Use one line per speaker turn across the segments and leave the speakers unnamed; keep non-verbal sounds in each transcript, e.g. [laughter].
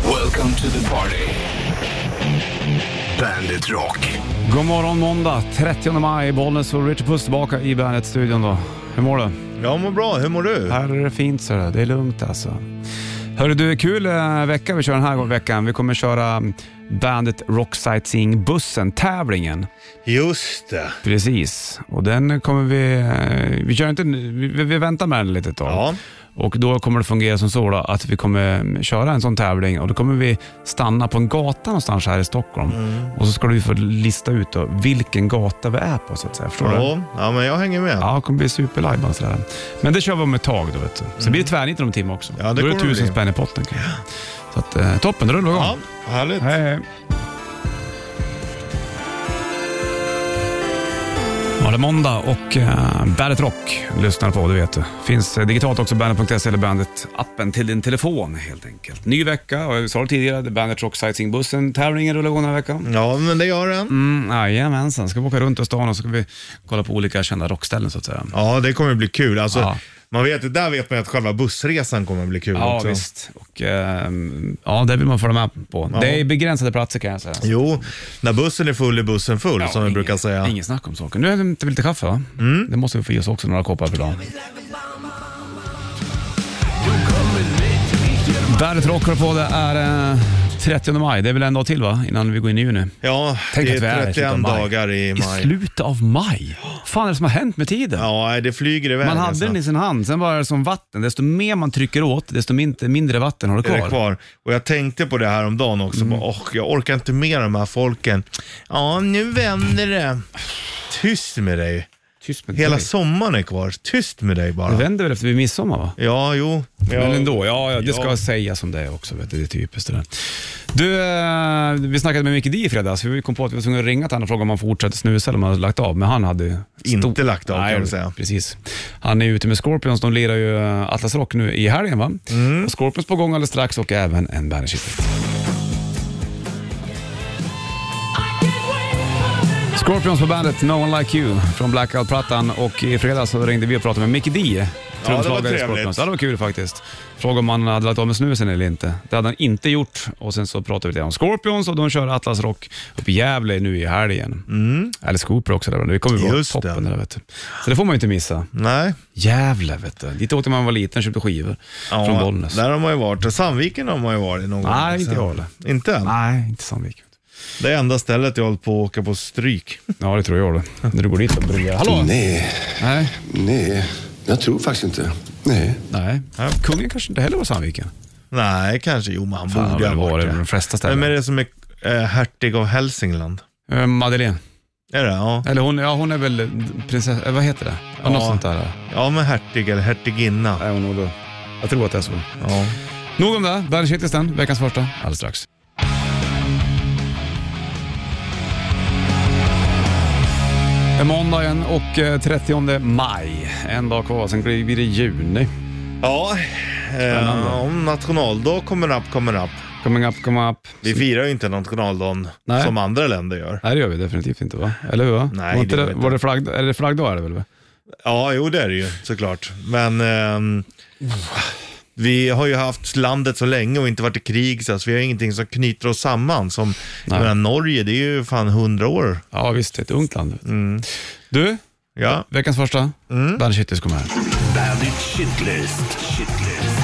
Welcome to the party. Bandit Rock.
God morgon måndag 30 maj, Bollnäs och Richard Puss tillbaka i Bandet-studion då. Hur mår du?
Jag mår bra, hur mår du?
Här är det fint så det är lugnt alltså. Hörru du, kul eh, vecka vi kör den här veckan. Vi kommer köra mm, Bandet Rock Sightseeing-bussen, tävlingen.
Just det.
Precis, och den kommer vi... eh, Vi, kör inte, nu, vi, vi väntar med den lite ett tag.
Ja.
Och då kommer det fungera som så då, att vi kommer mm, köra en sån tävling och då kommer vi stanna på en gata någonstans här i Stockholm.
Mm.
Och så ska du få lista ut då, vilken gata vi är på så att säga. Förstår du?
Ja, ja, men jag hänger med.
Ja, det kommer bli superlajban sådär. Men det kör vi om ett tag då vet du. Så blir det tvärnit om en timme också.
Mm. Ja, det
då är det
kommer det
tusen
bli.
spänn i potten. kan jag. Så att, eh, toppen, då rullar vi igång.
Ja, härligt.
Hej, hej. Ja, det är måndag och uh, Bandet Rock lyssnar på, det vet du. Finns eh, digitalt också, bandet.se eller Bandet-appen till din telefon helt enkelt. Ny vecka, och jag sa det tidigare, det är Bandet Rock Sightseeingbussen, tävlingen rullar igång den här veckan.
Ja, men det gör den.
Mm, jajamensan, ska vi åka runt i stan och så ska vi kolla på olika kända rockställen så att säga.
Ja, det kommer bli kul. Alltså,
Ja.
man vet, där vet man att själva bussresan kommer bli kul
Ja,
också.
visst. Och, ehm, ja, det vill man följa med på. Det är begränsade platser kan jag säga.
Jo, när bussen är full är bussen full,
Ja,
som vi
ingen-
brukar säga. Mm.
Ingen snack om saken. Nu är det lite kaffe va? Det måste vi få i oss också, några koppar per dag. Bandet Rockar på, det är eh, 30 maj. Det är väl en dag till va? Innan vi går in i juni.
Ja,
Tänk
det
att vi är i
är
slutet
31
av maj.
dagar i
I
maj.
slutet av maj? fan är det som har hänt med tiden?
Ja, nej, det flyger iväg.
Man hade
alltså.
den i sin hand, sen var det som vatten. Desto mer man trycker åt, desto min- mindre vatten har du
är
kvar. Mm.
det kvar. Och jag tänkte på det här om dagen också. Bara, åh, jag orkar inte med de här folken. Ja, nu vänder det. Tyst med dig.
Tyst med
Hela
dig.
sommaren är kvar. Tyst med dig
Det
bara.
vänder väl efter vid midsommar va?
Ja, jo. Ja.
Men ändå, ja, ja det ska
Ja.
sägas som det är också. Vet du, det är typiskt det där. Du, eh, vi snackade med Micke Di i fredags. Vi kom på att vi var tvungna att ringa till honom och fråga om han fortsatte snusa eller om han hade lagt av. Men han hade ju
Inte
stor-
lagt av, kan
Nej,
man säga.
Precis. Han är ute med Scorpions. De lirar ju eh, Atlas Rock nu i helgen va?
Mm.
Och Scorpions på gång alldeles strax och även en Bandage Scorpions på bandet No One Like You från Blackout-plattan och i fredags så ringde vi och pratade med Mick D. trumslagare i
trevligt.
Scorpions. Ja, det var kul faktiskt. Frågade om han hade lagt av med snusen eller inte. Det hade han inte gjort. Och sen så pratade vi lite om Scorpions och de kör Atlas Rock upp i Gävle nu i helgen. Mm. Eller Cooper också. Där. Det kommer ju vara
Just
toppen.
det.
Där, vet du. Så det får man ju inte missa.
Nej.
Gävle vet du. Dit åkte man när man var liten och köpte skivor
Ja,
från Bollnäs.
Där har man ju varit. Sandviken har man ju varit någon gång.
Nej, inte jag heller.
Inte än?
Nej, inte Sandvik.
Det är enda stället jag har hållit på att åka på stryk.
Ja, det tror jag det. När du går dit och bryr Hallå?
Nej,
Nej.
nej. Jag tror faktiskt inte. Nej.
Nej. Kungen kanske inte heller var Sandviken.
Nej, kanske. Jo, men han
Fan,
borde
det
ha
var
varit
det på de
det.
flesta ställen.
Vem är det som är eh, hertig av Hälsingland?
Eh, Madeleine.
Är det? Ja.
Eller hon, ja, hon är väl prinsessa, eh, vad heter det? Ja. Något sånt där.
Ja, men hertig eller hertiginna.
Är hon nog då. Jag tror att det är så.
Ja.
Nog om det. Bandage Hitlist den, veckans första, alldeles strax. Det är måndagen och eh, 30 maj. En dag kvar, sen blir det juni.
Ja, eh, om nationaldag kommer upp, kommer upp.
Coming up, coming up.
Vi firar ju inte nationaldagen
Nej.
som andra länder gör.
Nej, det gör vi definitivt inte va? Eller hur? Va?
Nej,
var inte
det
det,
gör vi inte.
var det flagg, är det flaggdag är det väl? va?
Ja, jo det är det ju såklart. Men ehm, vi har ju haft landet så länge och inte varit i krig, så att vi har ingenting som knyter oss samman. Som, jag menar, Norge, det är ju fan hundra år.
Ja visst, det är ett ungt land. vet du. Du,
Ja.
veckans första, mm. Bandage Hitlist kommer här.
Bandit Shitlist. Shitlist.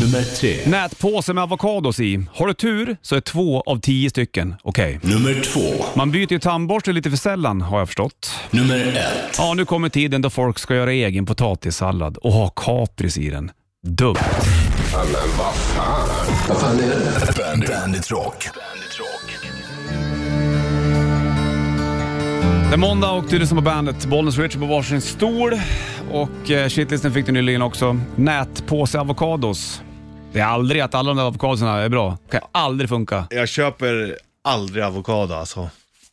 Nummer tre.
Nätpåse med avokados i. Har du tur så är två av tio stycken okej.
Nummer två.
Man byter ju tandborste lite för sällan har jag förstått.
Nummer ett.
Ja, nu kommer tiden då folk ska göra egen potatissallad och ha kapris i den. Dumt.
Vad fan är det?
Bandit, Bandit Rock. Bandit Rock.
Det är måndag och du lyssnar på bandet. Bollnäs och Richard på varsin stol. Och eh, shitlisten fick du nyligen också. Nätpåse avokados. Det är aldrig att alla de där avokadosarna är bra. Det kan aldrig funka.
Jag köper aldrig avokado alltså.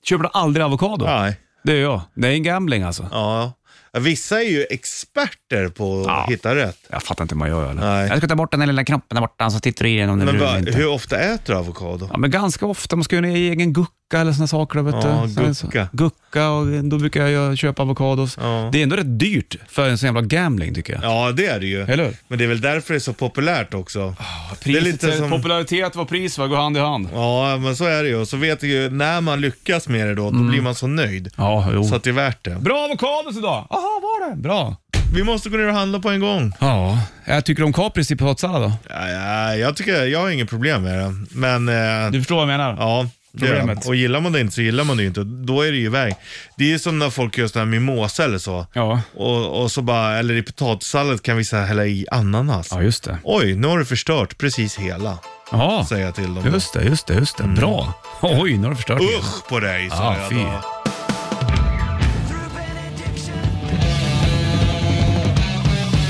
Köper du aldrig avokado?
Nej.
Det är jag. Det är en gambling alltså.
Ja. Vissa är ju experter på att
Ja.
hitta rätt.
Jag fattar inte hur man gör eller.
Nej.
Jag ska ta bort den här lilla knoppen där borta så tittar du i den om den
Men
vill
va,
inte.
hur ofta äter du avokado?
Ja, men ganska ofta. Man ska göra en egen gucka eller såna saker. Vet du.
Ja,
Sen så-
gucka.
Gucka, och då brukar jag göra- köpa avokados.
Ja.
Det är ändå rätt dyrt för en sån jävla gambling tycker jag.
Ja, det är det ju.
Eller hur? Ah,
Men det är väl därför det är så populärt också.
Priset,
det är lite som...
Popularitet och pris va? går hand i hand.
Ja, men så är det ju. Och så vet du ju, när man lyckas med det då,
Mm.
då blir man så nöjd.
Ja, jo.
Så att det är värt det.
Bra avokados idag! Jaha, var det? Bra.
Vi måste gå ner och handla på en gång.
Ja, jag tycker du om kapris i privatsallad då?
Ja, ja, jag tycker, jag har inget problem med det. Men, eh,
Du förstår vad jag menar?
ja. det gör jag.
Problemet.
Och gillar man det inte så gillar man det inte. Då är det ju iväg. Det är ju som när folk gör sån här mimosa eller så.
Ja,
Och, och så bara, eller i potatissallad kan vissa hälla i ananas.
ja just det.
Oj, nu har du förstört precis hela,
Ja,
säger jag till dem. då.
just Ah. det, just det, just det. Bra. Oj, nu har du förstört det.
Usch på dig, sa
Ah,
jag
fy.
då.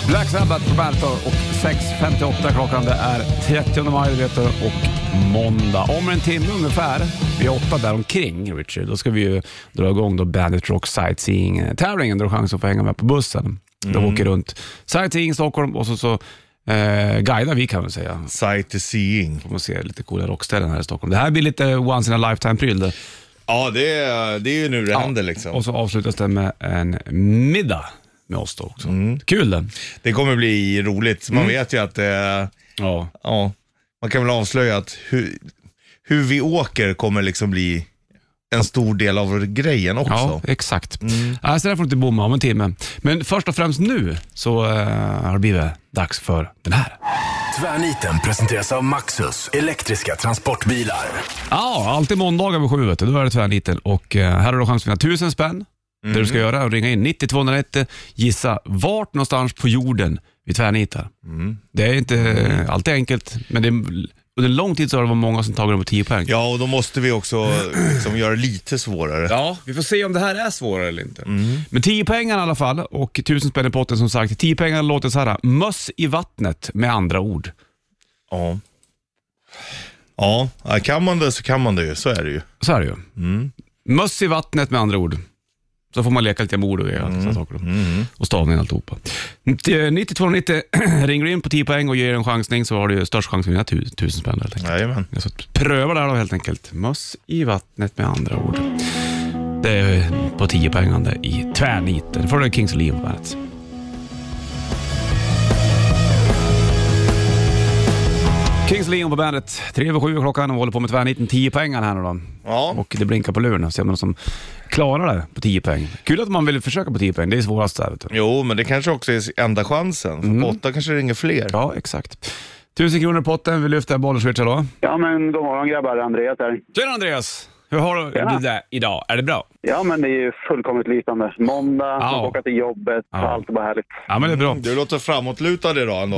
Black Sabbath på Bandet och 6.58 klockan. Det är 30 maj du vet du, och måndag. Om en timme ungefär, vi är åtta där omkring Richard, då ska vi ju dra igång då Bandit Rock Sightseeing-tävlingen där du har chans att få hänga med på bussen. Då åker runt Sightseeing i Stockholm och så, så eh, guidar vi kan man säga.
Sightseeing.
Får man se lite coola rockställen här i Stockholm. Det här blir lite once in a lifetime-pryl. det.
Ja, det är, det är ju nu det händer liksom.
Och så avslutas det med en middag med oss då också. Kul det.
Det kommer bli roligt. Man
Mm.
vet ju att, eh,
Ja.
ja, man kan väl avslöja att hur, hur vi åker kommer liksom bli en stor del av grejen också.
Ja, exakt. Ja, så där får du inte bomma om en timme. Men först och främst nu så eh, har det blivit dags för den här.
Tvärniten presenteras av Maxus elektriska transportbilar.
Ja, alltid måndagar vid sju, vet du. då är det tvärniten. Och eh, här har du chans att vinna tusen spänn. Det du ska göra är att ringa in 90290, gissa vart någonstans på jorden vi tvärnitar. Det är inte eh, alltid enkelt, men det är, under lång tid så har det varit många som tagit dem på 10 poäng.
Ja, och då måste vi också liksom, göra det lite svårare.
Ja, vi får se om det här är svårare eller inte. Men 10 pengar i alla fall och 1000 spänn i potten som sagt. 10 pengar låter så här, möss i vattnet med andra ord.
Ja. Ja, ja, kan man det så kan man det ju. Så är det ju.
Så är det ju. Mm. Möss i vattnet med andra ord. Så får man leka lite med ord och göra sådana saker. då. Och stavningen och alltihopa. 9290 [clears throat] ringer du in på 10 poäng och ger en chansning så har du ju störst chans att vinna 1000 spänn helt enkelt.
Jajamän.
Så att pröva det här då helt enkelt. Möss i vattnet med andra ord. Det är på 10 poängande i tvärniten. Då får du Kings of Leon på bandet. Kings Leon på bandet. Tre över sju är klockan och vi håller på med tvärniten. 10 poängen här nu då.
Ja.
Och det blinkar på luren. Ser man någon som klarar det på 10 poäng. Kul att man vill försöka på 10 poäng. Det är svårast där vet du.
Jo, men det kanske också är enda chansen. För på åtta kanske det ringer fler.
Mm. Ja, exakt. Tusen kronor i potten. Vi lyfter bollen då.
Ja, men god morgon grabbar. Andreas här.
Tjena Andreas! Hur har du
Tjena.
det där idag? Är det bra?
Ja, men det är ju fullkomligt lysande. Måndag,
Ja.
man får åka till jobbet,
Ja.
allt är bara härligt. [laughs]
Ja, men det är
Mm.
bra. Mm.
Du låter framåtlutad idag ändå.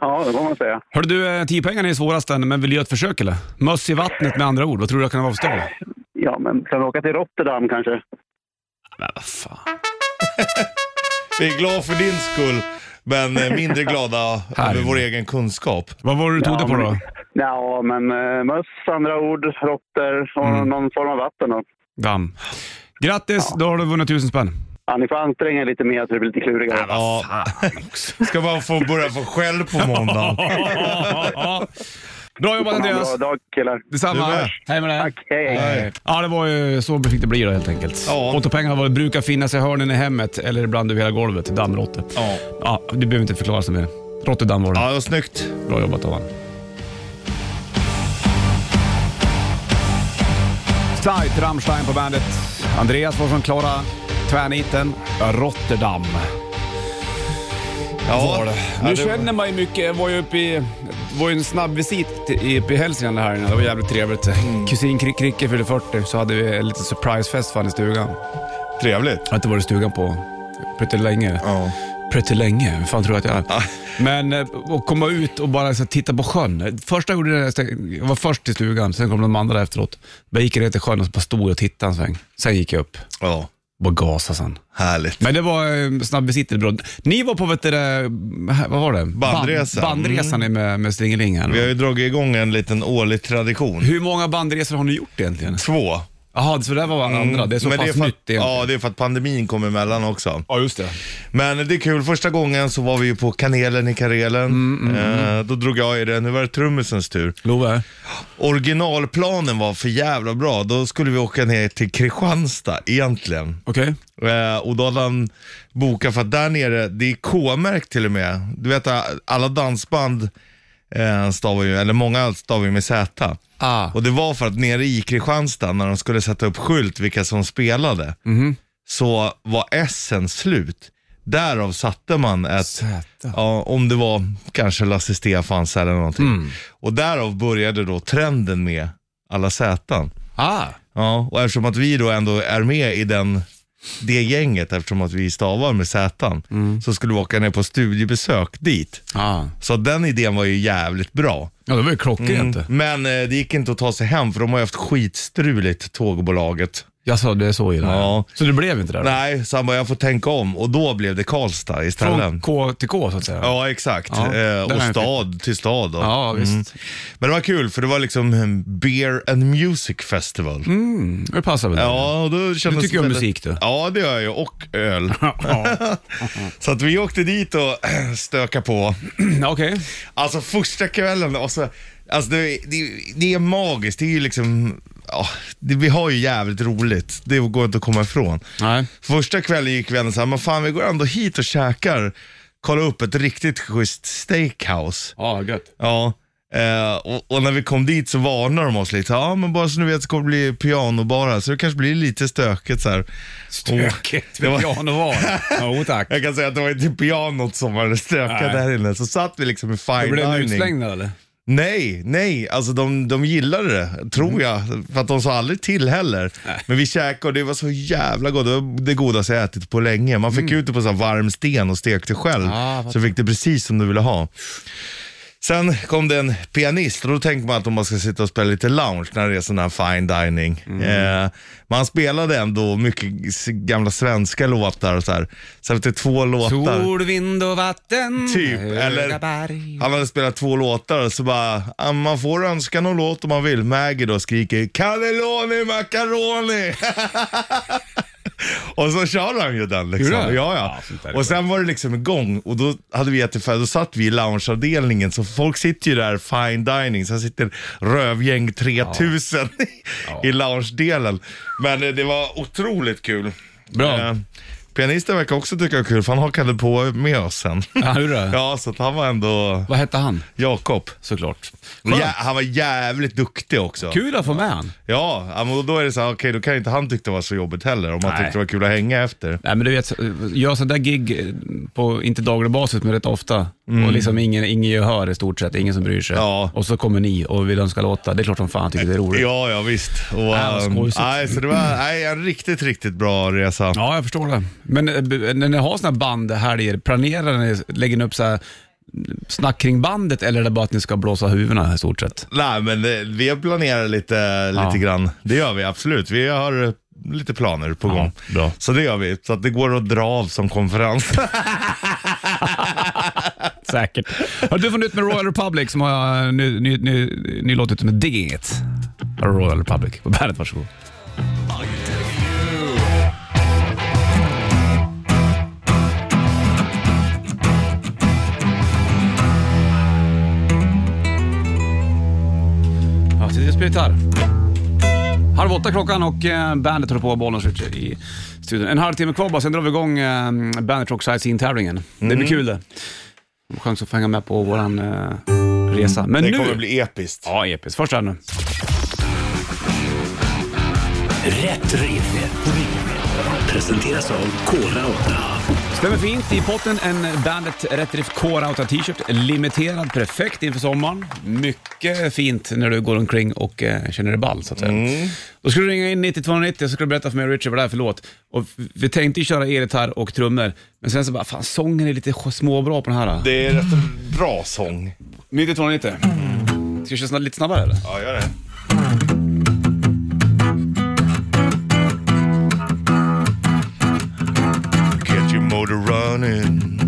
ja, det får man säga.
Hörde du, eh, tiopengarna är svårast än, men vill du göra ett försök eller? Möss i vattnet med andra ord, vad tror du jag kan vara för stad?
Ja, men kan vi åka till Rotterdam kanske?
Men vad fan.
Vi är glada för din skull, men eh, mindre glada
Här.
över vår egen kunskap.
Vad var det du tog
Ja,
det på
men-
då?
Ja, men eh, möss, andra ord, råttor och
Mm.
någon form av vatten då.
Damm. Grattis, då har du vunnit tusen spänn.
Ja, ni får anstränga er lite mer så det blir lite klurigare.
Ja. Ska man få börja få skäll på måndag?
Bra jobbat
Ha en
Andreas!
Bra dag killar.
Detsamma!
Du med.
Hej med dig!
Tack, hej. hej.
Nej.
Ja, det var ju så fick det bli då helt enkelt.
Ja.
Återpengarna var- brukar finnas i hörnen i hemmet eller ibland över hela golvet. Dammråttor.
Ja.
ja. Det behöver inte förklaras mer. Råttedamm var det.
Ja, det var snyggt.
Bra jobbat av honom. Starkt Rammstein på bandet. Andreas var från Klara, tvärniten, Rotterdam.
Ja,
Nu
ja, det-
känner man ju mycket, jag var ju uppe i, det var ju en snabb visit till- uppe i Hälsingland här innan. det var jävligt trevligt. Kusin Kri- Kricke fyllde 40 så hade vi en liten surprisefest fan i stugan.
Trevligt.
Jag har inte varit i stugan på pretty länge.
Ja.
Pretty länge, hur fan tror jag att jag är? Men eh, att komma ut och bara så, här titta på sjön. Första jag gjorde det, jag var först i stugan, sen kom de andra efteråt. Jag gick ner till sjön och så bara stod och tittade en sväng. Sen gick jag upp
ja,
och gasade sen.
härligt.
Men det var eh, snabb besittning bra. Ni var på, vet du, det, vad var det?
Bandresan.
Band, bandresan med, med Stringeling här.
Vi har ju dragit igång en liten årlig tradition.
Hur många bandresor har ni gjort egentligen?
Två.
Jaha, så det där var andra. Det är så
Mm, Men
pass
för att,
nytt egentligen.
Ja, det är för att pandemin kom emellan också.
Ja, just det.
Men det är kul, första gången så var vi ju på Kanelen i Karelen.
Mm,
eh, då drog jag i det, nu var det trummisens tur.
Love.
Originalplanen var för jävla bra, då skulle vi åka ner till Kristianstad egentligen.
Okej.
Eh, och då hade han bokat för att där nere, det är K-märkt till och med. Du vet alla dansband eh, stavar ju, eller många stavar ju med Z.
Ah.
Och det var för att nere i Kristianstad när de skulle sätta upp skylt vilka som spelade, så var S slut. Därav satte man ett,
Zäta.
ja, om det var kanske Lasse Stefans eller någonting. Och därav började då trenden med alla Z.
Ah.
Ja, och eftersom att vi då ändå är med i den, det gänget, eftersom att vi stavar med Z,
Mm.
så skulle vi åka ner på studiebesök dit.
ah.
Så den idén var ju jävligt bra.
Ja, det var ju klockrent mm.
Men eh, det gick inte att ta sig hem för de har ju haft skitstruligt, tågbolaget.
Jag sa det är så illa.
Ja.
Så det blev inte det? då?
Nej, så han bara, jag får tänka om. Och då blev det Karlstad istället.
Från K till K så att säga?
Ja, exakt.
Ja,
eh,
där är
och
en
stad till stad då. Mm.
Ja, visst.
Men det var kul för det var liksom en Beer and Music Festival.
Det passar väl?
Ja, och då kändes
Mm. tycker ju om
det-
musik, du.
Ja, det gör jag ju. Och öl.
ja. [clears throat]
Så att vi åkte dit och [clears throat] stöka på.
Okej.
Alltså första kvällen, och så, alltså det, det, det är magiskt. Det är ju liksom, ja, det, vi har ju jävligt roligt. Det går inte att komma ifrån.
Nej.
Första kvällen gick vi ändå så här, men fan vi går ändå hit och käkar. Kolla upp ett riktigt schysst steakhouse.
Ja, gött.
Ja. Eh, och, och när vi kom dit så varnade de oss lite. Ja, men bara så ni vet så kommer det bli pianobar här, så det kanske blir lite stökigt så här.
Stökigt
Det
med
var-
pianoval. Jo tack.
Jag kan säga att det var inte pianot som var det stökiga
Nej.
där inne. Så satt vi liksom i fine
Blev ni
dining.
utslängda eller?
Nej, nej, alltså de, de gillade det,
Mhm.
tror jag. För att de sa aldrig till heller. Men vi käkade och det var så jävla gott. Det var det godaste jag ätit på länge. Man fick ut det på så här varm sten och stekte själv.
Mm. Ah, vad-
så fick det precis som du ville ha. Sen kom det en pianist och då tänker man att om man ska sitta och spela lite lounge när det är sån här fine dining.
Mm.
Eh, men han spelade ändå mycket s- gamla svenska låtar och så här. Så efter två låtar.
Sol, vind och vatten.
Typ,
höga
eller-
berg.
Han hade spelat två låtar och så bara, ah, man får önska någon låt om man vill. Maggie då skriker cannelloni macaroni. [laughs] och så kör han ju den liksom.
Gjorde
Ja,
han?
ja.
Ja, sånt där är
och sen var det liksom igång och då hade vi jättefärd, då satt vi i loungeavdelningen så folk sitter ju där fine dining, sen sitter rövgäng 3000 i loungedelen. Men eh, det var otroligt kul.
Bra.
Eh, Pianisten verkar också tycka det är kul för han hakade på med
[laughs]
oss sen.
Ja, hur då?
Ja, så att han var ändå...
Vad hette han?
Jakob.
Såklart. Skönt.
Ja, han var jävligt duktig också.
Kul att få med han.
Ja, ja, men då är det så här, okej då kan inte han tycka det var så jobbigt heller om han
Nej.
tyckte det var kul att hänga efter.
Nej, men du vet, gör sådana där gig eh, på, inte daglig basis, men rätt ofta. Och liksom ingen, ingen gehör i stort sett, ingen som bryr sig.
Mm. Ja.
Och så kommer ni och vill önska låtar. Det är klart som fan tycker det är roligt.
Ja, ja visst. Och,
vad
ehm,
skojsigt.
nej, så det var nej, en riktigt, riktigt bra resa.
Ja, jag förstår det. Men eh, b- när ni har sådana band här, planerar ni, lägger ni upp så här snack kring bandet eller är det bara att ni ska blåsa huvudena i stort sett?
Nej, men det, vi planerar lite, lite
Ja.
grann. Det gör vi absolut. Vi har eh, lite planer på gång.
bra.
Så det gör vi. Så att det går att dra av som konferens.
Säkert. Har du får nytt med Royal Republic som har eh, ny, ny, ny, ny låt ute med Digging It. Royal Republic på bandet, varsågod. Ja, sitter och spelar gitarr. Halv åtta klockan och eh, bandet håller på och bollen switcher i studion. En halvtimme kvar bara, sen drar vi igång eh, bandet Rock Sightseeing-tävlingen. Det blir kul det. En chans att få hänga med på våran eh, resa. Men
[laughs] det
nu...
kommer bli episkt.
Ja, episkt. Först här nu.
Rätt riff. Presenteras av Kora 8.
Stämmer fint. I potten en Bandet Rätt Riff Core Outa T-shirt. Limiterad, perfekt inför sommaren. Mycket fint när du går omkring och eh, känner dig ball, så att säga.
Mm.
Då skulle du ringa in 9290 så skulle du berätta för mig och Richard vad det är för låt. Och f- vi tänkte ju köra elgitarr och trummor, men sen så bara, fan sången är lite sj- småbra på den här. Det...
Det är rätt bra sång.
9290. Ska vi köra snab- lite snabbare eller?
Ja, gör det. Get your motor running,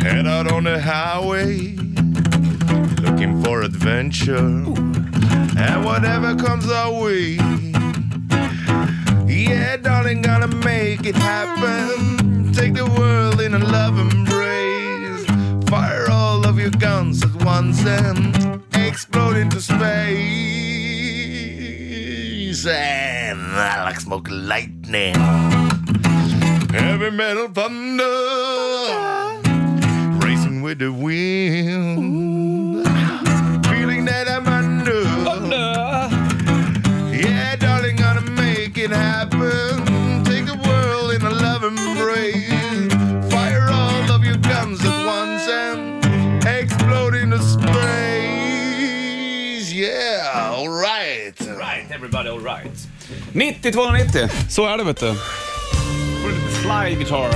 head out on the highway, looking for adventure, and whatever comes our way.
Yeah, darling, gonna make it happen. Take the world in a love embrace. Fire all of your guns at once and explode into space. And I like smoke lightning. Heavy metal thunder. Racing with the wind. Feeling that I'm under.
Ah.
Yeah, darling, gonna make it happen. Take the world in a love embrace. Fire all of your guns at once and explode into space. Yeah, alright.
Right, everybody all right. 90 290, så är det vet du. Får lite Fly guitar.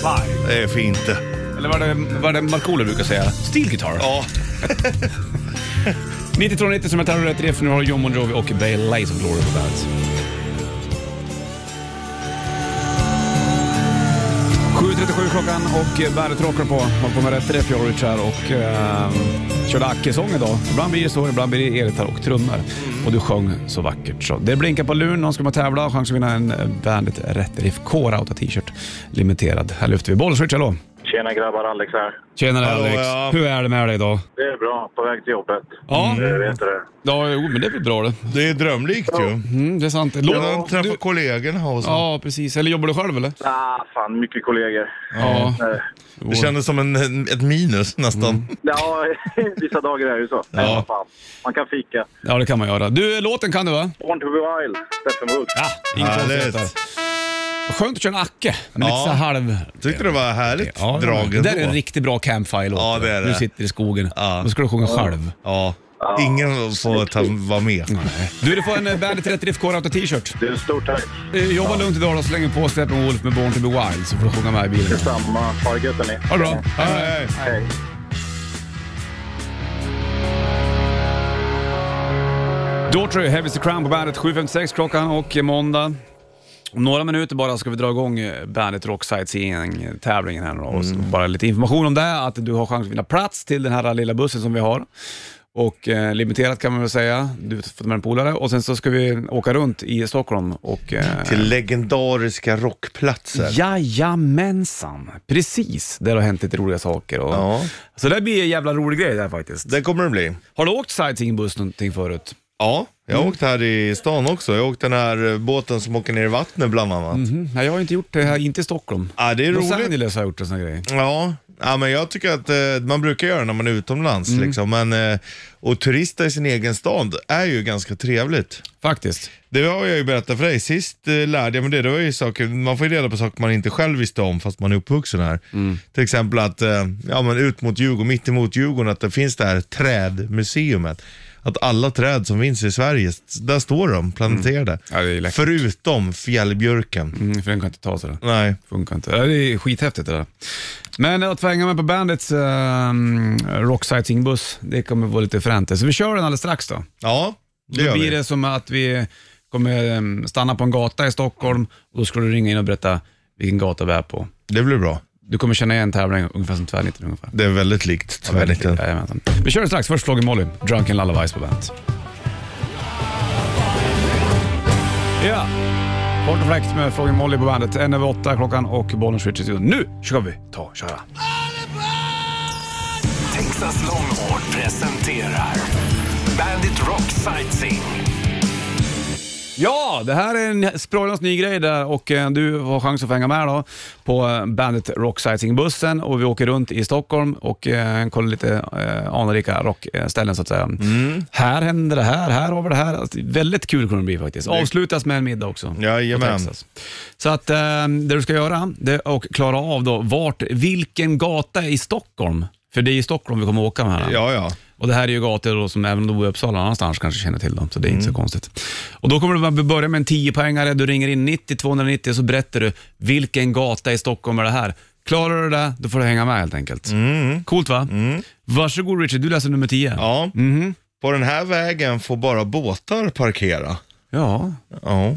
Fly.
Det är fint det.
Eller vad det, vad det Markoolio brukar säga, steel guitar.
Ja.
90 290 som är Terror rätt för nu har John Bon Jovi och Bay Lies of Glory på bandet. 7.37 klockan och bandet rockar på. Man på med rätt riff, jag och Rich här och eh, körde Acke-sång idag. Ibland blir det så, ibland blir det elgitarr och trummor. Och du sjöng så vackert så. Det blinkar på luren, någon ska med och tävla och chans att vinna en bandet rätt riff K-Rauta t-shirt. Limiterad. Här lyfter vi. Bolls Rich, hallå!
Tjena grabbar, Alex här.
Tjenare
Hallå,
Alex!
ja.
Hur är det med dig idag?
Det är bra, på väg till jobbet.
Ja,
Du vet det.
ja jo, men det är väl bra det.
Det är drömlikt ju.
Mm, det är sant. Lå-
Ja, träffa
du-
kollegorna och så.
Ja, precis. Eller jobbar du själv eller?
Ah, fan, mycket kollegor.
Ja.
Eh,
Det kändes som en, en- ett minus nästan.
Mm.
Ja, [laughs] vissa dagar är det ju så. Nej,
Ja.
vad fan. Man kan fika.
ja, det kan man göra. Du, låten kan du va?
Born to be wild, Stephen Wood.
Ja, inget
Härligt.
konstigt där. Skönt att köra en acke, men
Ja.
lite så här halv...
Tyckte det var härligt
Ja,
drag
det där är
ändå.
en riktigt bra campfire-låt.
Ja, det är det.
Du sitter i skogen.
Ja.
Då ska du sjunga själv.
Ja. Ingen får ta, vara med.
Du, du får en eh, Bandet 30 FK Rauta t-shirt.
Du, stort tack.
Eh, Jobba lugnt idag då, så länge på Steppenwolf med Born to be Wild så får du sjunga med i bilen.
Detsamma. Ha det gött, hörni.
Ha det bra. Hej.
Nej.
Hej.
Daughtry, Heavy is the Crown på bandet. 7.56 klockan och måndag. Om några minuter bara ska vi dra igång eh, bandet Rock Sightseeing-tävlingen här nu då. Och så Bara lite information om det, att du har chans att vinna plats till den här lilla bussen som vi har. Och eh, limiterat kan man väl säga, du får ta med en polare. Och sen så ska vi åka runt i Stockholm och... Eh,
Till legendariska rockplatser.
Jajamensan, precis. Där har hänt lite roliga saker. Och,
Ja.
Så det blir en jävla rolig grej där faktiskt.
Det kommer det bli.
Har du åkt sightseeingbuss någonting förut?
Ja, Mm. jag har åkt här i stan också. Jag har åkt den här eh, båten som åker ner i vattnet bland annat.
Mm, nej, jag har inte gjort det här, inte i Stockholm.
Ja, det är
Los
roligt.
Angeles har gjort en sån här grej.
Ja, ja, men jag tycker att eh, man brukar göra när man är utomlands. Liksom. Men, eh, och turista i sin egen stad är ju ganska trevligt.
Faktiskt.
Det har jag ju berättat för dig. Sist eh, lärde jag mig det. det var ju saker, man får ju reda på saker man inte själv visste om fast man är uppvuxen här.
Mm.
Till exempel att eh, ja, men ut mot Djurgården, mitt emot Djurgården, att det finns det här trädmuseumet. Att alla träd som finns i Sverige, där står de planterade.
Mm. Ja, det är läckert.
Förutom fjällbjörken.
Mm, för den kan inte ta sådär.
Nej.
Funkar inte. Ja, Det är skithäftigt det där. Men att få hänga med på bandets um, Rock Sightseeing-buss, det kommer vara lite fränt. Så vi kör den alldeles strax då.
Ja, det
Då
gör
blir
vi.
det som att vi kommer ehm, stanna på en gata i Stockholm och då ska du ringa in och berätta vilken gata vi är på.
Det blir bra.
Du kommer känna igen tävlingen ungefär som tvärnitten ungefär.
Det är väldigt likt tvärnitten.
Jajamensan. Vi kör det strax. Först Flogging Molly, Drunken Lullabies på bandet. Ja, Fart och fläkt med Flogging Molly på bandet. En över åtta klockan och bollen switch i studion. Nu ska vi ta och köra.
Texas Longhorn presenterar Bandit Rock Sightseeing.
Ja, det här är en sprallans ny grej där och eh, du har chans att få hänga med då på eh, bandet Rock Sightseeing-bussen och vi åker runt i Stockholm och eh, kollar lite eh, anrika rockställen så att säga.
Mm.
Här händer det här, här har vi det här. Alltså, väldigt kul kommer det bli faktiskt. Avslutas med en middag också.
Jajamän.
på Texas. Så att eh, det du ska göra det är att klara av då vart, vilken gata i Stockholm, för det är i Stockholm vi kommer åka med här.
Ja, ja.
Och det här är ju gator då, som även om du bor i Uppsala annanstans kanske känner till dem, så det är
Mm.
inte så konstigt. Och då kommer du bara börja med en 10-poängare, du ringer in 90 290 och så berättar du vilken gata i Stockholm är det här. Klarar du det, då får du hänga med helt enkelt. Coolt va? Varsågod Richard, du läser nummer 10.
Mm. ja.
Mhm.
På den här vägen får bara båtar parkera.
Ja,
Ja,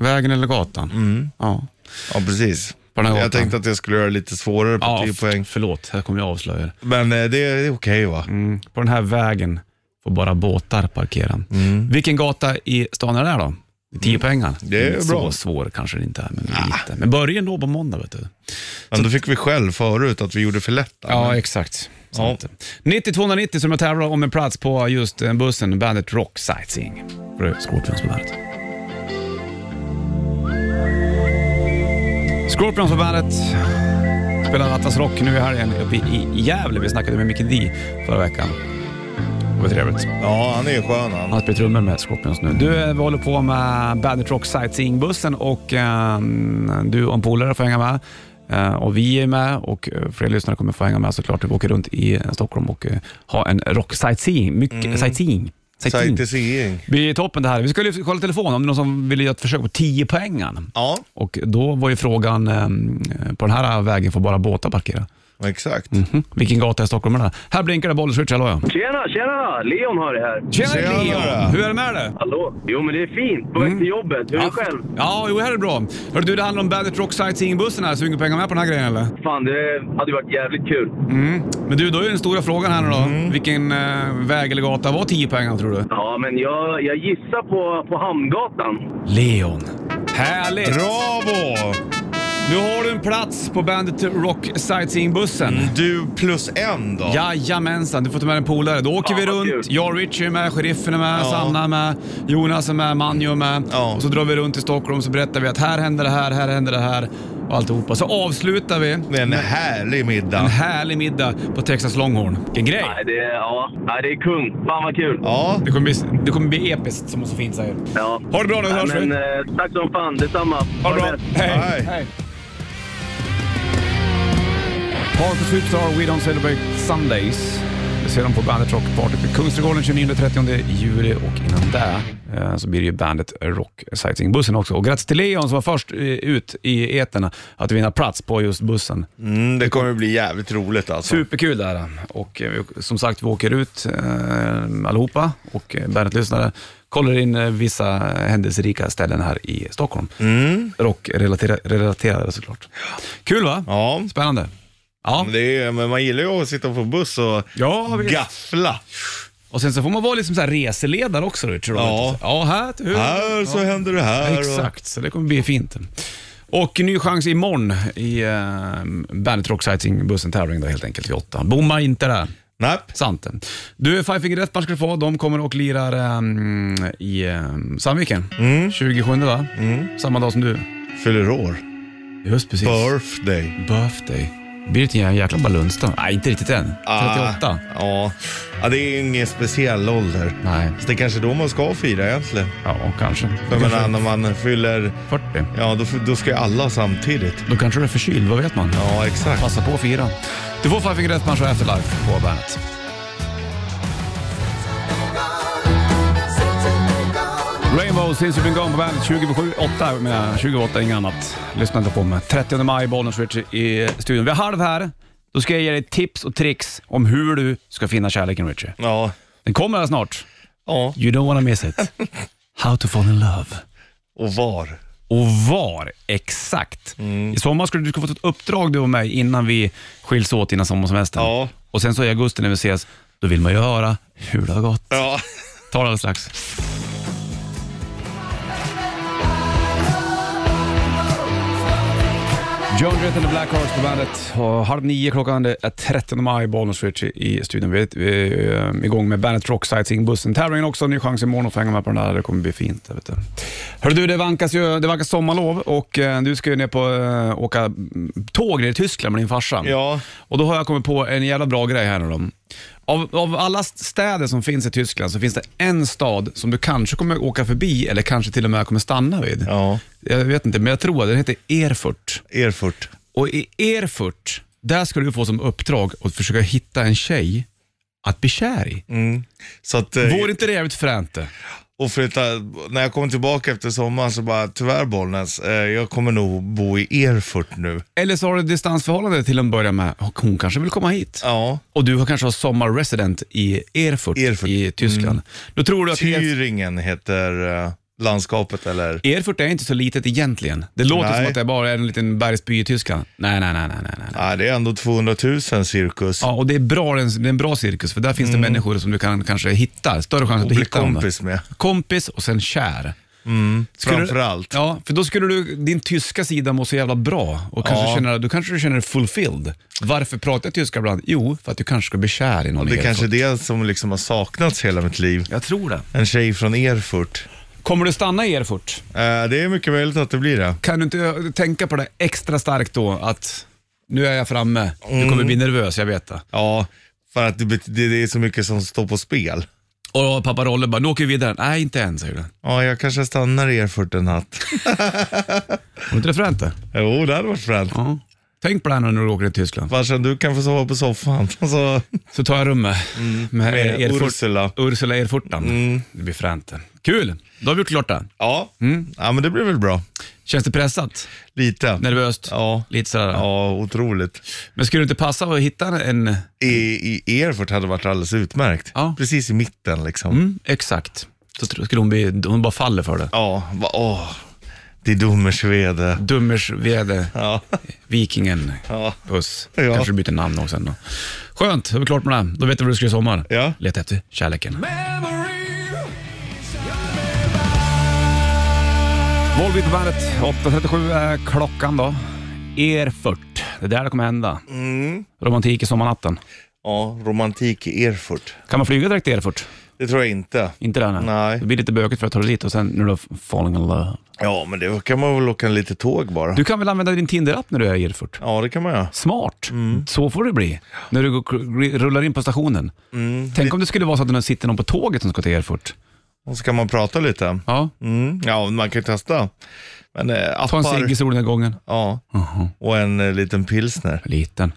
vägen eller gatan.
Mm.
Ja.
ja precis.
På den här gatan.
jag tänkte att jag skulle göra det lite svårare på
Ja,
10 poäng.
förlåt, här kommer jag avslöja det.
Men eh, det är okej va?
Mm. På den här vägen får bara båtar parkera. Vilken gata i stan är det här då? Tio pengar.
Mm. Det är
Inte Så
bra. Ah.
svår kanske det inte är, men lite. Men börja då på måndag, vet du.
Men då fick vi själv förut att vi gjorde för lätta.
Ja,
men-
exakt. Sant. 90-290 som jag tävlar om en plats på just eh, bussen Bandet Rock Sightseeing. För Scorpions på bandet. Scorpions på bandet. Spelar Atlas Rock nu i helgen uppe i Gävle. Vi snackade med Micke Dee förra veckan. Det var trevligt.
ja han är ju skön han.
Han spelar trummor med Scorpions nu. Du, eh, vi håller på med Bandit Rock Sightseeing-bussen och eh, du och en polare får hänga med. Eh, och vi är med och eh, fler lyssnare kommer få hänga med såklart. Vi åker runt i eh, Stockholm och eh, ha en rock sightseeing. Mycket sightseeing. Mm. Sightseeing.
Sightseeing.
Det är toppen det här. Vi ska lyfta- kolla telefonen om det är någon som vill göra ett försök på 10 poängen.
Ja,
Och då var ju frågan, eh, på den här vägen får bara båtar parkera.
exakt.
Hm, Vilken gata i Stockholm är det? här? Här blinkar det bollswitch, hallå ja.
Tjena, tjena! Leon hör jag här.
Tjena
Tjena,
Leon!
Leon.
Hur är det med dig?
Hallå? Jo, men det är fint. På väg till jobbet. Hur är du själv?
Mm. Ja, jo, här är bra. Hör du, det handlar om Bandit Rock Sightseeing-bussen här, så inga pengar med på den här grejen eller?
Fan, det hade ju varit jävligt kul.
Men du, då är den stora frågan här nu då.
Mm.
Vilken eh, väg eller gata var 10 pengar tror du?
Ja, men jag, jag gissar på, på Hamngatan.
Leon. Härligt!
Bravo!
Nu har du en plats på Bandit Rock Sightseeing-bussen.
Mm.
Du plus en då.
Jajamensan, du får ta med en polare. Då åker
Fan,
vi
vad
runt.
kul.
Jag och Richie är med, sheriffen är med,
Ja.
Sanna är med, Jonas är med, Manjo är med.
Ja.
Och så drar vi runt i Stockholm så berättar vi att här händer det här, här händer det här och alltihopa. Så avslutar vi.
Med en härlig
En
middag.
härlig middag på Texas Longhorn. Vilken grej!
Nej, det är, ja, nej, det är kung. Fan vad kul.
Ja,
Det kommer, bli, det kommer bli episkt, som så fint säger.
Ja.
Ha det bra nu,
Nej,
hörs vi.
men, eh, Tack som fan. Detsamma.
Ha det bra.
bäst.
Hej!
Hej.
Hej. Park of Superstar, We Don't Celebrate Sundays. Det ser de på Bandet Rock Party på Kungsträdgården 29-30 juli och innan det eh, så blir det ju Bandet Rock Sightseeing-bussen också. Och grattis till Leon som var först eh, ut i eterna att vinna plats på just bussen.
mm, det kommer bli jävligt roligt alltså.
Superkul det här. Och eh, vi- som sagt, vi åker ut eh, allihopa och eh, Bandet-lyssnare kollar in eh, vissa händelserika ställen här i Stockholm. Mm. Rockrelaterade såklart. Kul va?
Ja,
Spännande. Ja.
men det är, men man gillar ju att sitta på buss och
Ja, visst.
gaffla.
Och sen så får man vara liksom så här reseledare också. Richard.
Ja.
ja här, hur?
Här så händer det här. och-
Exakt, så det kommer bli fint. Och ny chans imorgon i eh, Bandet Rock Sighting bussen tävling då helt enkelt vid åtta. Bomma inte där.
Nej.
Sant. Du, Five Finger Death Punch ska du få. De kommer och lirar ehm, i um, Sandviken. 27 va? Samma dag som du.
Fyller år.
Just precis.
Birthday.
Birthday. Blir det en jäkla balunsdag? Nej, inte riktigt än. 38.
Ah, ja. ja, det är ju ingen speciell ålder.
Nej.
Så det är kanske då man ska fira egentligen.
Ja, kanske.
Jag menar när man fyller,
40.
ja då, då ska ju alla samtidigt.
Då kanske du är förkyld, vad vet man?
Ja, exakt.
Passa på att fira. Du får Five Finger Death Punch och Afterlife på bandet. Rainbow, since you've been gone på bandet 27, 8 med 28, inget annat. Lyssna inte på mig. 30 maj, Bollnäs Richie i studion. Vi är halv här. Då ska jag ge dig tips och tricks om hur du ska finna kärleken, Richie.
Ja.
Den kommer här snart.
ja,
You don't wanna miss it. How to fall in love.
och var.
och var exakt.
Mm.
I sommar skulle du ska få ett uppdrag du och mig innan vi skiljs åt innan sommarsemestern.
Ja.
Och sen så i augusti när vi ses, då vill man ju höra hur det har gått.
Ja.
Ta det alldeles strax. John Jett and the Black Hearts på bandet. Och halv nio klockan, det är 13 maj, Bollnäs Rich i studion. Vi är, vi är eh, igång med Bandet Rock Sightseeing-bussen. Tävlingen också, ny chans imorgon att få hänga med på den där. Det kommer bli fint. det Vet du. Hörru du, det vankas, ju, det vankas sommarlov och eh, du ska ju ner på eh, åka mm, tåg ner i Tyskland med din farsa.
Ja.
Och då har jag kommit på en jävla bra grej här nu då. Av, av alla städer som finns i Tyskland så finns det en stad som du kanske kommer åka förbi eller kanske till och med kommer stanna vid.
Ja.
Jag vet inte, men jag tror att den heter Erfurt.
Erfurt.
Och i Erfurt, där ska du få som uppdrag att försöka hitta en tjej att bli kär i.
Så att, eh,
Vore inte det jävligt fränt det?
och flytta, när jag kommer tillbaka efter sommaren så bara, tyvärr Bollnäs, eh, jag kommer nog bo i Erfurt nu.
Eller så har du distansförhållande till en början med. Och Hon kanske vill komma hit.
Ja.
Och du har kanske har sommarresident i Erfurt,
Erfurt. Mm.
i Tyskland. Då tror du att Erfurt-
Thüringen heter eh, landskapet eller?
Erfurt är inte så litet egentligen. Det låter
Nej.
som att det bara är en liten bergsby i Tyskland. Nej, nej, nej. nej, nej, nej.
Nej, det är ändå 200 000 cirkus.
Ja, och det är, bra, det är en bra cirkus,
Mm.
för där finns det människor som du kan kanske hitta. Större chans att
Och
du
bli
hittar dem.
kompis med.
Kompis och sen kär. Skulle du-
Framförallt.
Ja, för då skulle du, din tyska sida må så jävla bra och kanske
Ja.
känna, då kanske du känner dig fulfilled. Varför pratar jag tyska ibland? Jo, för att du kanske ska bli kär i någon.
Det
helt
är kanske är
kort.
det som liksom har saknats hela mitt liv.
Jag tror det.
En tjej från Erfurt.
Kommer du stanna i Erfurt?
Eh, det är mycket möjligt att det blir det.
Kan du inte ö, tänka på det extra starkt då att nu är jag framme, du
Mm.
kommer bli nervös, jag vet det.
Ja, för att det, bet- det, det är så mycket som står på spel.
Och pappa Rolle bara, nu åker vi vidare. Nej, inte än, säger du.
Ja, jag kanske stannar i Erfurt en natt.
Var inte det fränt det?
Jo, det hade varit fränt.
Ja. Tänk på det här nu när du åker till Tyskland.
Farsan, du kan få sova på soffan. [laughs] Alltså,
Så tar jag rummet med,
Mm. med
Erfurt-
Ursula. Mm.
Ursula Erfurtan. Det blir fränt det. Kul, då har vi gjort klart det.
Ja.
Mm.
ja, men det blir väl bra.
Känns det pressat?
Lite.
Nervöst?
Ja.
Lite sådär.
Ja, otroligt.
Men skulle det inte passa att hitta en...
I, i Erfurt hade varit alldeles utmärkt.
Ja.
Precis i mitten liksom.
Mm, exakt. Så tro- skulle hon bli... Hon bara faller för det.
Ja, va, åh. Det är Dummersvede.
Dummersvede,
Ja.
Vikingen,
Ja.
Puss.
Ja.
Kanske du byter namn också sen då. Skönt, då är vi klart med det. här. Då vet du vad du ska göra i sommar.
Ja.
Leta efter kärleken. Volvo på bandet. 8.37 är klockan då. Erfurt. Det är där det kommer hända.
Mm.
Romantik i sommarnatten.
ja, romantik i Erfurt.
Kan man flyga direkt till Erfurt?
Det tror jag inte.
Inte där nej.
Nej.
Det blir lite bökigt för att ta dig dit och sen nu då falling in love.
Ja, men det kan man väl åka lite tåg bara.
Du kan väl använda din Tinder-app när du är i Erfurt?
Ja, det kan man göra.
Smart. Så får det bli. När du går, rullar in på stationen. Tänk om det skulle vara så att det sitter någon på tåget som ska till Erfurt.
Och så kan man prata lite.
Ja.
Mm. Ja, man kan ju testa. Men eh,
Ta en
appar.
cigg i solnedgången.
ja. Och en eh, liten pilsner.
Liten.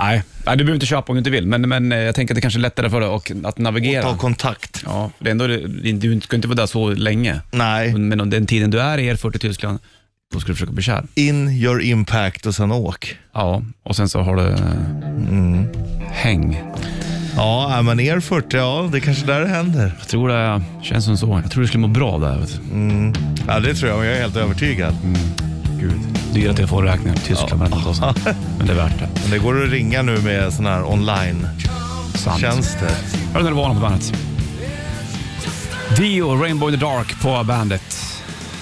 Nej, Nej du behöver inte köpa om du inte vill, men, men eh, jag tänker att det kanske är lättare för dig och, att navigera.
Ta kontakt.
ja, det är ändå, du ska inte vara där så länge.
Nej,
Men om den tiden du är i Erfurt i Tyskland, då ska du försöka bli kär.
in, gör impact och sen åk.
Ja, och sen så har du mm. häng.
Ja, är man Erfurt, ja det kanske där det händer.
Jag tror det känns som så. Jag tror du skulle må bra av det här. vet
Ja, det tror jag. Jag är helt övertygad.
du. Gud. Dyra telefonräkningar i Tyskland, men, ändå så. men det är värt det.
Men det går att ringa nu med sån här online-tjänster.
Sant. Hör du när du var på bandet? Dio, Rainbow in the Dark på bandet.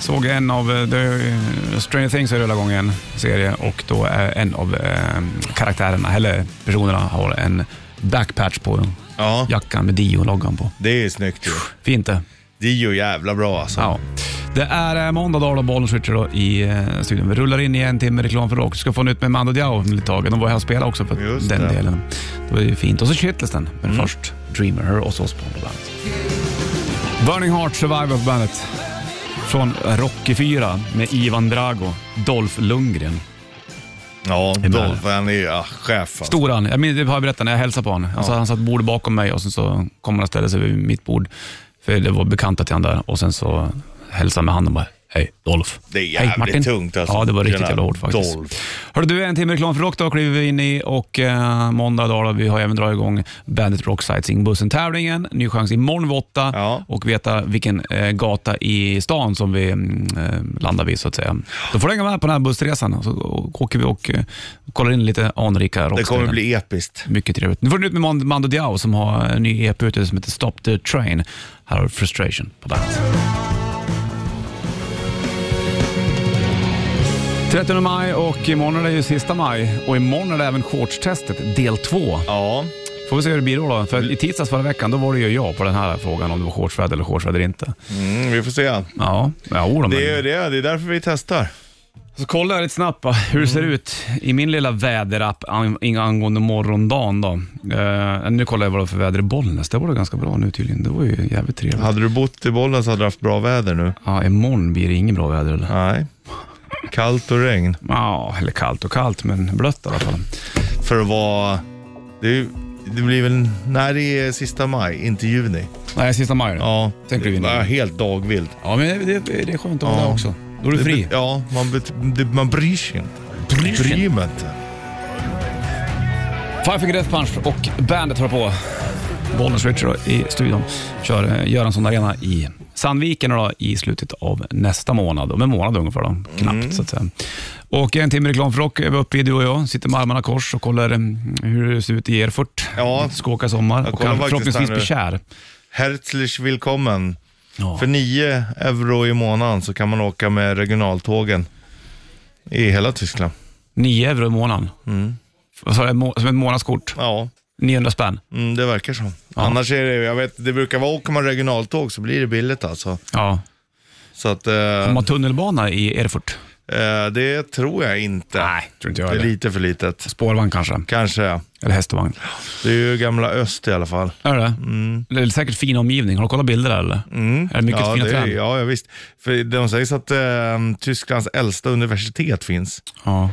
Såg en av eh, The eh, Stranger Things har rullat igång en serie och då är en av eh, karaktärerna, eller personerna, har en backpatch på
Ja,
jackan med Dio-loggan på.
det är ju snyggt ju.
Fint det.
Det är ju jävla bra alltså.
Ja. Det är eh, måndag dag då, Bollnäs Richard då, i eh, studion. Vi rullar in i en timme reklam för rock. Du ska få nytt med Mando Diao om ett tag. De var här och spelade också för
Just
den
det. Mm.
delen. Det var ju fint. Och så Shitlisten, men först Dreamer Her och så Spawn på bandet. Burning Heart Survivor på bandet. Från Rocky 4 med Ivan Drago, Dolph Lundgren.
Ja,
är med.
Dolph, han är ju ja, chef. Alltså.
Stor han. Jag minns, det har jag berättat när jag hälsade på honom. Alltså, Han satt bord bakom mig och sen så kom han och ställde sig vid mitt bord. För det var bekanta till han där och sen så hälsade han med handen och bara Hej Dolph.
Det är jävligt
Hej, Martin.
tungt alltså.
Ja, det var riktigt
Tjena,
jävla hårt faktiskt.
Dolph.
Hörru du, en timme reklam för rock då kliver vi in i och eh, måndag dag då, vi har även dragit igång Bandet Rock Sightseeing-bussen-tävlingen. Ny chans imorgon vid åtta
Ja.
och veta vilken eh, gata i stan som vi mm, eh, landar vid så att säga. Då får du hänga med på den här bussresan och så och, åker vi och eh, kollar in lite anrika
Det kommer
rockställen.
bli episkt.
Mycket trevligt. Nu får du ut med Man- Mando Diao som har en ny EP ute som heter Stop the Train. Här har du Frustration på bandet. 13 maj och imorgon är det ju sista maj och imorgon är det även shortstestet del 2.
Ja,
Får vi se hur det blir då. då. För i tisdags förra veckan då var det ju jag på den här frågan om det var shortsväder eller shortsväder inte.
mm, vi får se.
Ja, ja då, men...
Det är, det, är, det är därför vi testar.
Så kolla jag lite snabbt va, hur det ser
Mm.
ut i min lilla väderapp ang- angående morgondagen. Då. Eh, nu kollar jag vad det var för väder i Bollnäs. Det var det ganska bra nu tydligen. Det var ju jävligt trevligt. Ja,
Hade du bott i bollen så hade du haft bra väder nu.
imorgon blir det inget bra väder eller? Ja,
Nej. Kallt och regn.
eller kallt och kallt, men blött i alla fall.
För att vara... Det, är ju- det blir väl... Nej, det är sista maj, inte juni.
Nej, sista maj då.
Ja,
Sen kliver vi in.
det var helt dagvilt.
Ja, men det, det, det är skönt att ha det också. Då är du
Det
fri.
bet- Ja, man, bet- det, man bryr sig inte. Bryr, mig inte.
Five Finger Death Punch och bandet hör på. Bollnäs Richard då i studion kör eh, Göransson Arena i Sandviken då i slutet av nästa månad. Om en månad ungefär då, knappt så att säga. Och en timme reklam för rock är vi uppe i du och jag. Sitter med armarna kors och kollar eh, hur det ser ut i Erfurt.
Ja.
Det ska åka sommar
Jag
och
kollar
kan
faktiskt
förhoppningsvis
här
bli
nu.
kär.
Herzlich willkommen.
Ja.
För 9 euro i månaden så kan man åka med regionaltågen i hela Tyskland.
9 euro i månaden. Vad sa du? Må- Som ett månadskort.
Ja,
900 spänn.
mm, det verkar så. Annars är det, jag vet, det brukar vara, åker man regionaltåg så blir det billigt alltså.
Ja.
Så att, eh,
De har tunnelbana i Erfurt.
eh, det tror jag inte.
Nej, tror inte jag
det är
heller.
lite för litet.
Spårvagn kanske.
Kanske, ja.
Eller hästvagn.
Det är ju gamla öst i alla fall.
Är det mm. det? är säkert fin omgivning. Har du kollat bilder där eller? Mm. Är det mycket
ja,
fina
det,
träd?
är- Ja, ja, visst. För de sägs att eh, Tysklands äldsta universitet finns.
Ja.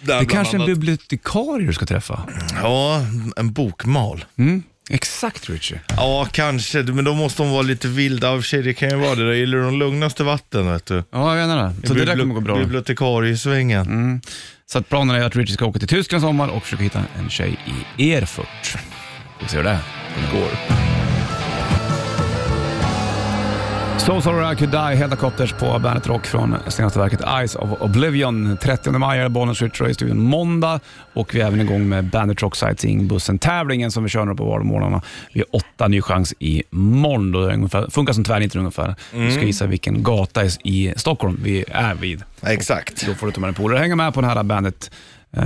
Där
Det är
bland
kanske en
annat.
bibliotekarie du ska träffa.
Ja, en bokmal.
Mm. Exakt Richie.
Ja, kanske. Men då måste hon vara lite vild. Ja, i och för sig, det kan ju vara det. Det gillar de lugnaste vatten, vet du.
Ja, jag menar det. Så det där
Bibli-
kommer gå bra. Mm.
Bibliotekariesvängen.
Så att planen är att Richie ska åka till Tyskland i sommar och försöka hitta en tjej i Erfurt. Vi ser hur det går. So sorry I could die, Helicopters på Bandet Rock från senaste verket Eyes of Oblivion. 30 maj är det Bollnäs Ritchie i studion måndag och vi är även igång med Bandet Rock Sightseeing-bussen-tävlingen som vi kör nu på vardagsmorgnarna. Vi har åtta ny chans imorgon. Då är det ungefär, funkar som tvärnitten ungefär. Du ska gissa vilken gata i- i Stockholm vi är vid.
Exakt.
Då får du ta med en polare och hänga med på den här bandet eh,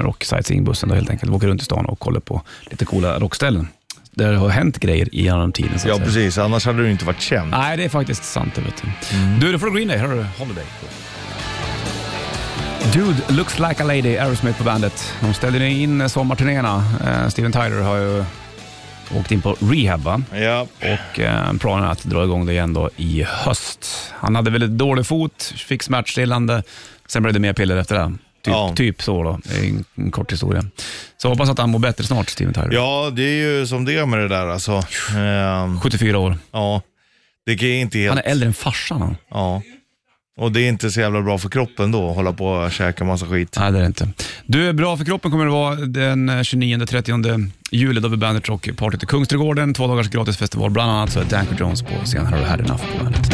Rock Sightseeing-bussen då helt enkelt. Vi åker runt i stan och kollar på lite coola rockställen. Där har hänt grejer genom tiden så att
Ja,
säga. Ah.
precis. Annars hade du inte varit känd.
Nej, det är faktiskt sant det vet du.
Mm.
Du, då får du Green Day. Här har du Holiday. Dude looks like a lady, Aerosmith på bandet. De ställde ju in sommarturnéerna. Eh, Steven Tyler har ju åkt in på rehab va?
Ja.
Och eh, planen är att dra igång det igen då i höst. Han hade väldigt dålig fot, fick smärtstillande, sen blev det mer piller efter det. Typ,
Ja.
typ så då, Det är en, en kort historia. Så hoppas att han mår bättre snart, Steven Tyler.
ja, det är ju som det är med det där alltså. Ehm,
74 år.
ja, det är inte helt...
Han är äldre än farsan han.
Ja. Och det är inte så jävla bra för kroppen då, att hålla på och käka massa skit.
Nej, det är det inte. Du, Bra för kroppen kommer det vara den 29-30 juli då vid Bandit Rock Party i Kungsträdgården. Två dagars gratis festival, bland annat så är Danko Jones på scen. Här har du Had Enough på bandet.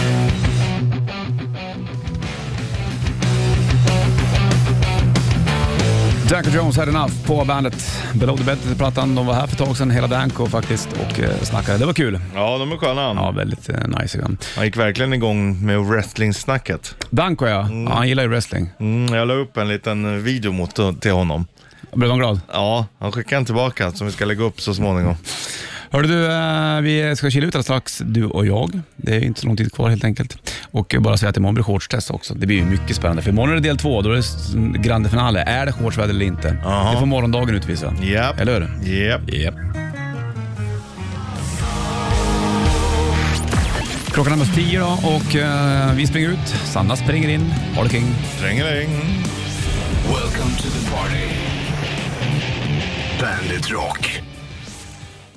Danko Jones, Had Enough på bandet. Below the Belt-plattan, de var här för ett tag sedan, hela Danko faktiskt, och eh, snackade. Det var kul.
Ja, de är sköna.
Ja, väldigt eh, nice. igen.
Han gick verkligen igång med wrestling-snacket.
Danko ja, ja han gillar ju wrestling.
Mm, jag la upp en liten video mot, till honom.
Blev han glad?
Ja, han skickade en tillbaka som vi ska lägga upp så småningom.
Hörru du, eh, vi ska chilla ut alldeles strax, du och jag. Det är ju inte så lång tid kvar helt enkelt. Och eh, bara säga att imorgon blir shortstest också. Det blir ju mycket spännande. För imorgon är det del två, då är det s- grande finale. Är det shortsväder eller inte?
Aha.
Det får morgondagen utvisa.
Japp.
Eller hur?
Japp.
Japp. Klockan är närmast tio då och eh, vi springer ut. Sanna springer in. Ha det king.
Trängeling.
Welcome to the party. Bandit Rock.